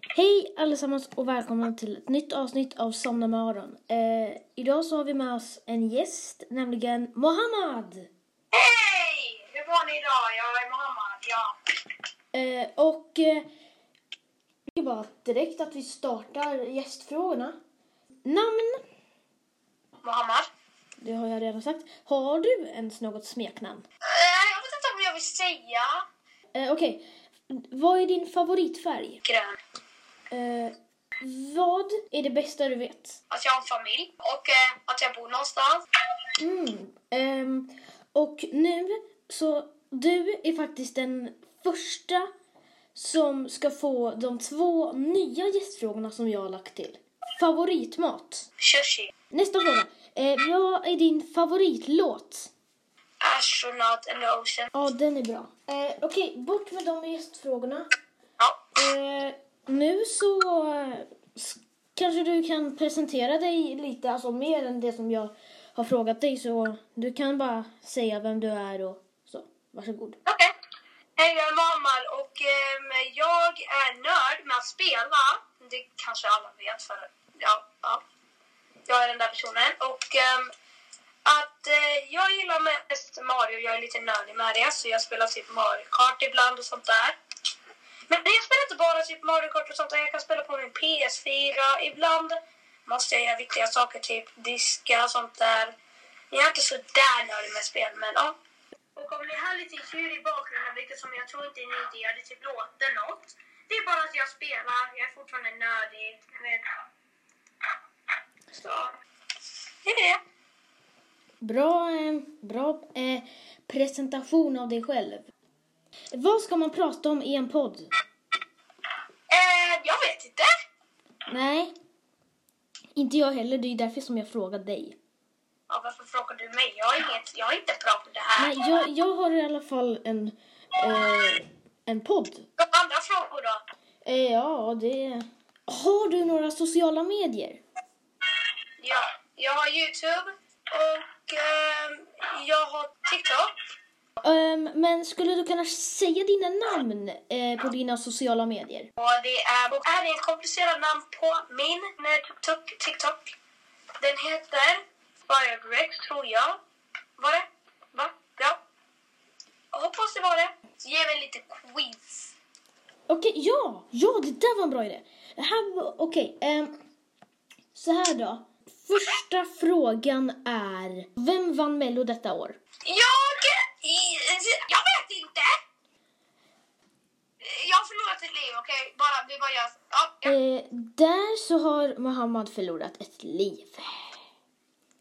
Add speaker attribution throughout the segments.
Speaker 1: Hej allesammans och välkomna till ett nytt avsnitt av Somna med Aron. Eh, idag så har vi med oss en gäst, nämligen Mohammad.
Speaker 2: Hej! Hur mår ni idag? Jag är Mohammad, ja.
Speaker 1: Eh, och eh, jag tycker bara direkt att vi startar gästfrågorna. Namn,
Speaker 2: Mohammad?
Speaker 1: det har jag redan sagt. Har du ens något smeknamn?
Speaker 2: Eh, jag vet inte om jag vill säga
Speaker 1: Eh, Okej, vad är din favoritfärg?
Speaker 2: grön.
Speaker 1: Eh, vad är det bästa du vet?
Speaker 2: Att jag har en familj och eh, att jag bor någonstans.
Speaker 1: Mm. ehm, och nu så, du är faktiskt den första som ska få de två nya gästfrågorna som jag har lagt till. Favoritmat.
Speaker 2: Sushi.
Speaker 1: Nästa fråga. Eh, vad är din favoritlåt?
Speaker 2: Astronaut and the ocean.
Speaker 1: Ja, den är bra. Eh, Okej, bort med de gästfrågorna.
Speaker 2: Ja.
Speaker 1: Eh, nu så eh, s- kanske du kan presentera dig lite, alltså mer än det som jag har frågat dig. Så du kan bara säga vem du är och så. Varsågod.
Speaker 2: Okej. Hej, jag är Mohammad och ehm, jag är nörd med att spela. Det kanske alla vet för ja, ja. jag är den där personen. Och ehm, att eh, jag gillar mest Mario, jag är lite nördig med det. Så jag spelar typ Mario Kart ibland och sånt där. Men jag spelar inte bara typ Mario Kart och sånt där. Jag kan spela på min PS4. Ibland måste jag göra viktiga saker, typ diska och sånt där. Jag är inte så där nördig med spel, men ja. Och om ni hör lite djur i bakgrunden, vilket som jag tror inte ni inte gör, det typ låter något. Det är bara att jag spelar, jag är fortfarande nördig. jag vet. Så, det är det.
Speaker 1: Bra, eh, bra eh, presentation av dig själv. Vad ska man prata om i en podd?
Speaker 2: Eh, jag vet inte.
Speaker 1: Nej, inte jag heller. Det är ju därför som jag frågar dig.
Speaker 2: Ja, varför frågar du mig? Jag har, inget, jag har inte bra på det här.
Speaker 1: Nej, jag, jag har i alla fall en, eh, en podd.
Speaker 2: Vad är andra frågor då?
Speaker 1: Eh, Ja, det... Har du några sociala medier?
Speaker 2: Ja, jag har Youtube och ehm, jag har TikTok.
Speaker 1: Ehm, men skulle du kunna säga dina namn eh, på dina sociala medier?
Speaker 2: Och det är, och är ett komplicerat namn på min eh, TikTok. TikTok. Den heter Firebrex tror jag. Var det? Va? Ja. Jag hoppas det var det. Ge mig lite quiz.
Speaker 1: Okej, ja! Ja, det där var en bra idé. Det här var- Okej, ehm, så här då. Första frågan är, vem vann Mello detta år?
Speaker 2: Jag... i- Jag vet inte! Jag har förlorat ett liv, okej? Bara, vi bara gör... Ja, ja.
Speaker 1: Eh, där så har Mohammed förlorat ett liv.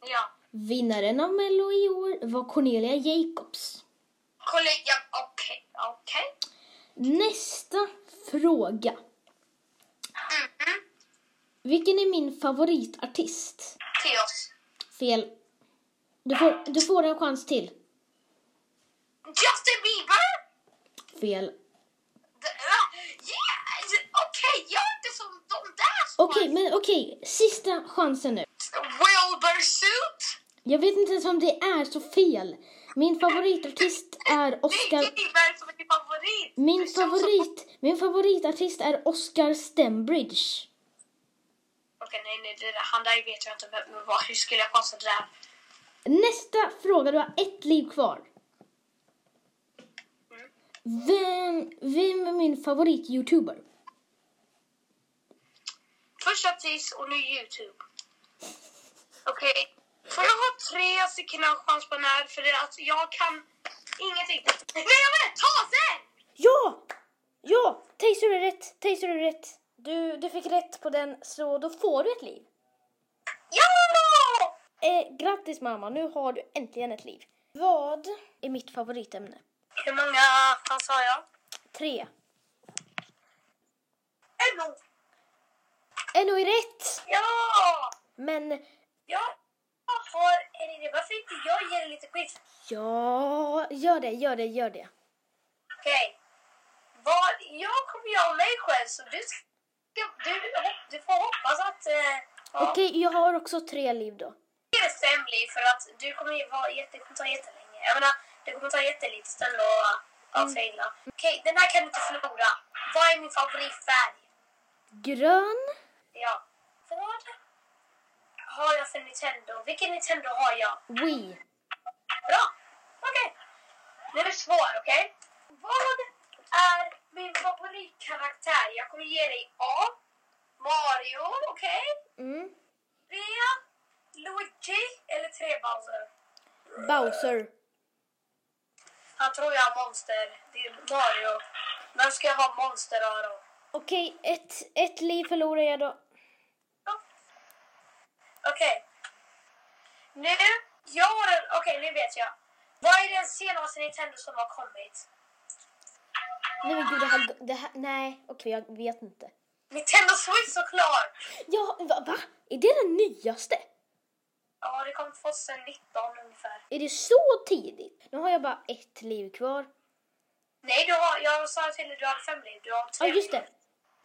Speaker 2: ja.
Speaker 1: Vinnaren av Mello i år var Cornelia Jacobs.
Speaker 2: Kolla- ja, Okej, okej.
Speaker 1: Nästa fråga.
Speaker 2: Mhm.
Speaker 1: Vilken är min favoritartist?
Speaker 2: Teos.
Speaker 1: Fel. Du får, du får en chans till.
Speaker 2: Justin Bieber!
Speaker 1: Fel.
Speaker 2: D- ah, Yes! Okej, jag är inte som de där som
Speaker 1: Okej, men okej. Sista chansen nu.
Speaker 2: Wilbur Suit!
Speaker 1: Jag vet inte ens om det är så fel. Min favoritartist är
Speaker 2: Det
Speaker 1: Oscar...
Speaker 2: är Gilbert som är din favorit!
Speaker 1: Min
Speaker 2: Det känns som-
Speaker 1: favorit... Min favoritartist är Oscar Stembridge.
Speaker 2: Okej, nej, nej, det där, han där vet jag inte vem det var. Hur skulle jag konsta det där?
Speaker 1: Nästa fråga. Du har ett liv kvar.
Speaker 2: Mm.
Speaker 1: Vem, vem är min favorit-youtuber?
Speaker 2: Först artist och nu Youtube. Okej. Får jag ha tre sekunder chans på den här? För det, är alltså, jag kan ingenting. Nej, jag vet! Taser!
Speaker 1: Ja! Ja! Taser är rätt. Taser är rätt. Du, du fick rätt på den, så då får du ett liv.
Speaker 2: Ja!
Speaker 1: Eh, grattis mamma, nu har du äntligen ett liv. Vad är mitt favoritämne?
Speaker 2: Hur många vad sa jag?
Speaker 1: Tre.
Speaker 2: NO!
Speaker 1: NO är rätt!
Speaker 2: Ja!
Speaker 1: Men
Speaker 2: Jag har en idé. Varför inte jag ger dig lite quiz?
Speaker 1: ja, gör det, gör det, gör det.
Speaker 2: Okej. Vad jag kommer göra om mig själv så du ska... Du, du får hoppas att... Eh, ja,
Speaker 1: Okej, jag har också tre liv då.
Speaker 2: Det är fem liv för att du kommer ju vara jätte, det kommer ta jättelänge. Jag menar, det kommer ta jättelite stund att ja, faila. Okej, den här kan du inte förlora. Vad är min favoritfärg?
Speaker 1: Grön.
Speaker 2: Ja. Vad har jag för Nintendo? Vilken Nintendo har jag?
Speaker 1: Wii.
Speaker 2: Bra! Okej. Nu är det svår, okej? Vad är min favoritkaraktär? Jag kommer ge dig A. Mario, okej?
Speaker 1: Mm.
Speaker 2: B. Luigi eller 3 Bowser?
Speaker 1: Bowser.
Speaker 2: Han tror jag är monster. Det är Mario. Vem ska jag vara monster av då?
Speaker 1: Okej, ett, ett liv förlorar jag då.
Speaker 2: Ja. Okej. Nu, jag har en... Okej, nu vet jag. Vad är den senaste Nintendo som har kommit?
Speaker 1: Nej men gud, det här... Det här nej, okej, jag vet inte.
Speaker 2: Nintendo Switch såklart!
Speaker 1: Ja, va, va? Är det den nyaste?
Speaker 2: Ja, det kom 2019 ungefär.
Speaker 1: Är det så tidigt? Nu har jag bara ett liv kvar.
Speaker 2: Nej, du har, jag sa till dig du har fem liv. Du har
Speaker 1: Ja,
Speaker 2: tre
Speaker 1: just
Speaker 2: liv.
Speaker 1: det.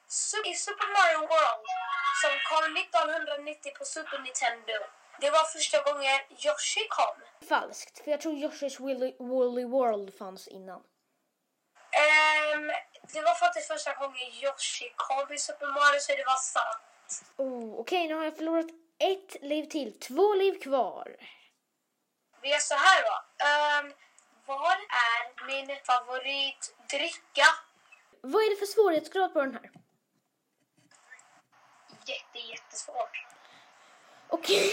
Speaker 2: Su- I Super Mario World, som kom 1990 på Super Nintendo. Det var första gången Yoshi kom.
Speaker 1: Falskt, för jag tror Joshes Willy, Woolly World fanns innan.
Speaker 2: Ehm, det var faktiskt första gången Yoshi kom i Super Mario, så det var sant.
Speaker 1: Oh, okej, nu har jag förlorat ett liv till. Två liv kvar.
Speaker 2: Vi gör så här då. Ehm, vad är min favoritdricka?
Speaker 1: Vad är det för svårighetsgrad på den här?
Speaker 2: Jätte, jättesvårt.
Speaker 1: Okej.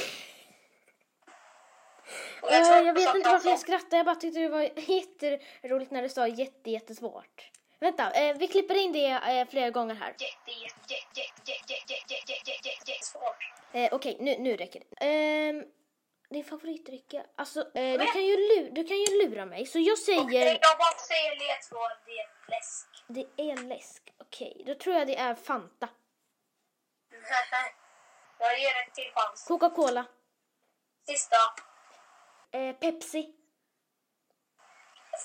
Speaker 2: Och
Speaker 1: Eh,
Speaker 2: tror
Speaker 1: jag vet
Speaker 2: att
Speaker 1: inte
Speaker 2: de
Speaker 1: varför jag
Speaker 2: som-
Speaker 1: skrattade, jag bara tyckte det var jätteroligt när du sa jätte, jättesvårt. Vänta, eh, vi klipper in det eh, flera gånger här.
Speaker 2: Jätte, jätte, jätte, jätte, jätte, jätte, jätte, jätte, jätte, jättesvårt.
Speaker 1: Eh, Okej, nu, nu räcker det. Ehm, din favoritdrycka? Alltså, eh, du, kan ju lu- du kan ju lura mig. Så jag säger,
Speaker 2: Det jag bara säger ledtråd, det är läsk.
Speaker 1: det är läsk. Okej, då tror jag det är Fanta.
Speaker 2: jag ger en till chans.
Speaker 1: Coca-Cola.
Speaker 2: Sista.
Speaker 1: Eh, Pepsi.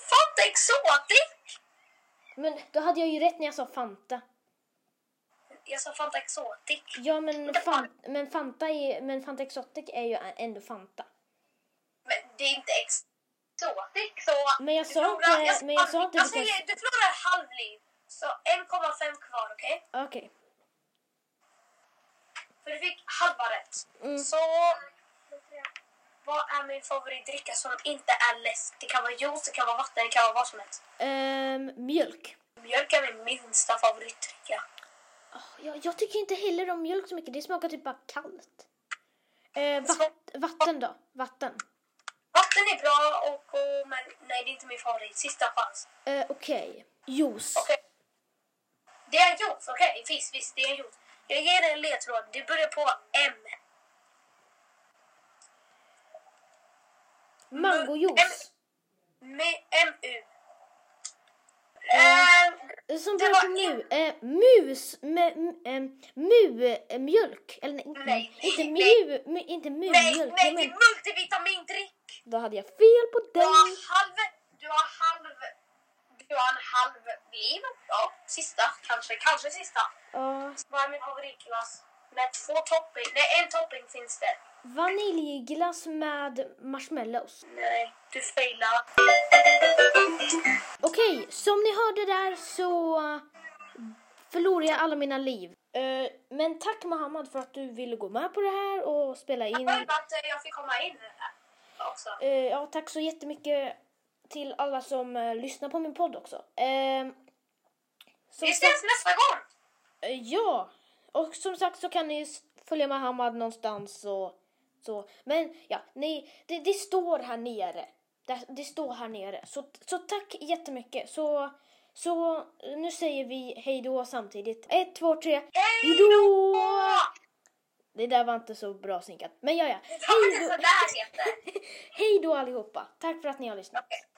Speaker 2: Fanta Exotic!
Speaker 1: Men då hade jag ju rätt när jag sa Fanta.
Speaker 2: Jag sa Fanta Exotic.
Speaker 1: Ja, men, fan, men, Fanta, är, men Fanta Exotic är ju ändå Fanta.
Speaker 2: Men det är inte exotic så...
Speaker 1: Men jag
Speaker 2: du
Speaker 1: sa
Speaker 2: förlorar-
Speaker 1: inte- men jag sa inte
Speaker 2: Jag
Speaker 1: det kanske-
Speaker 2: säger, du förlorar ett halvliv. Så 1,5 kvar, okej?
Speaker 1: Okej.
Speaker 2: För du fick halva rätt.
Speaker 1: Mm.
Speaker 2: Så... Vad är min favoritdricka som inte är läsk? Det kan vara juice, det kan vara vatten, det kan vara vad som helst.
Speaker 1: Ehm, mjölk.
Speaker 2: Mjölk är min minsta favoritdricka.
Speaker 1: Åh, Jag, jag tycker inte heller om mjölk så mycket. Det smakar typ bara kallt. Eh, vatt, vatten då? Vatten.
Speaker 2: Vatten är bra, och, och, men nej, det är inte min favorit. Sista chans.
Speaker 1: Eh, Okej. Juice.
Speaker 2: Okej. Det är juice, okej. Visst, visst, det är juice. Jag ger dig en ledtråd. Det börjar på M.
Speaker 1: Mangojuice.
Speaker 2: Med MU. Ehm,
Speaker 1: Som
Speaker 2: Det
Speaker 1: börjar på mu.
Speaker 2: var
Speaker 1: Eh, mus. Med, m, mu, eh, mjölk. Eller nej, inte-
Speaker 2: Nej,
Speaker 1: inte
Speaker 2: nej.
Speaker 1: mu. mu inte mu,
Speaker 2: nej,
Speaker 1: mjölk.
Speaker 2: nej,
Speaker 1: Jag
Speaker 2: det
Speaker 1: men,
Speaker 2: är multivitamindrick.
Speaker 1: då hade jag fel på
Speaker 2: Du har
Speaker 1: den.
Speaker 2: halv... Du har halv... Du har en halv liv. Ja, sista. Kanske, kanske sista.
Speaker 1: Ja,
Speaker 2: Vad är min favoritglass? Med två topping. Nej, en topping finns det.
Speaker 1: vaniljglass med marshmallows.
Speaker 2: Nej, du failar.
Speaker 1: Okej, som ni hörde där så förlorar jag alla mina liv. Eh, men tack Mohammed för att du ville gå med på det här och spela in.
Speaker 2: Skönt att eh, jag fick komma in här också.
Speaker 1: Eh, ja, tack så jättemycket till alla som eh, lyssnar på min podd också. Eh, som
Speaker 2: Vi
Speaker 1: sagt,
Speaker 2: ses nästa gång!
Speaker 1: eh, ja, och som sagt så kan ni s- följa Mohammed någonstans och så. Men ja, ni, det, det står här nere. Det, det står här nere. Så, så tack jättemycket. Så, så eh, nu säger vi hej då samtidigt. Ett, två, tre. Hej då! Det där var inte så bra synkat. Men ja, ja.
Speaker 2: Hej
Speaker 1: Hej
Speaker 2: då!
Speaker 1: då,
Speaker 2: Sådär heter det.
Speaker 1: hej då allihopa. Tack för att ni har lyssnat.
Speaker 2: Okej.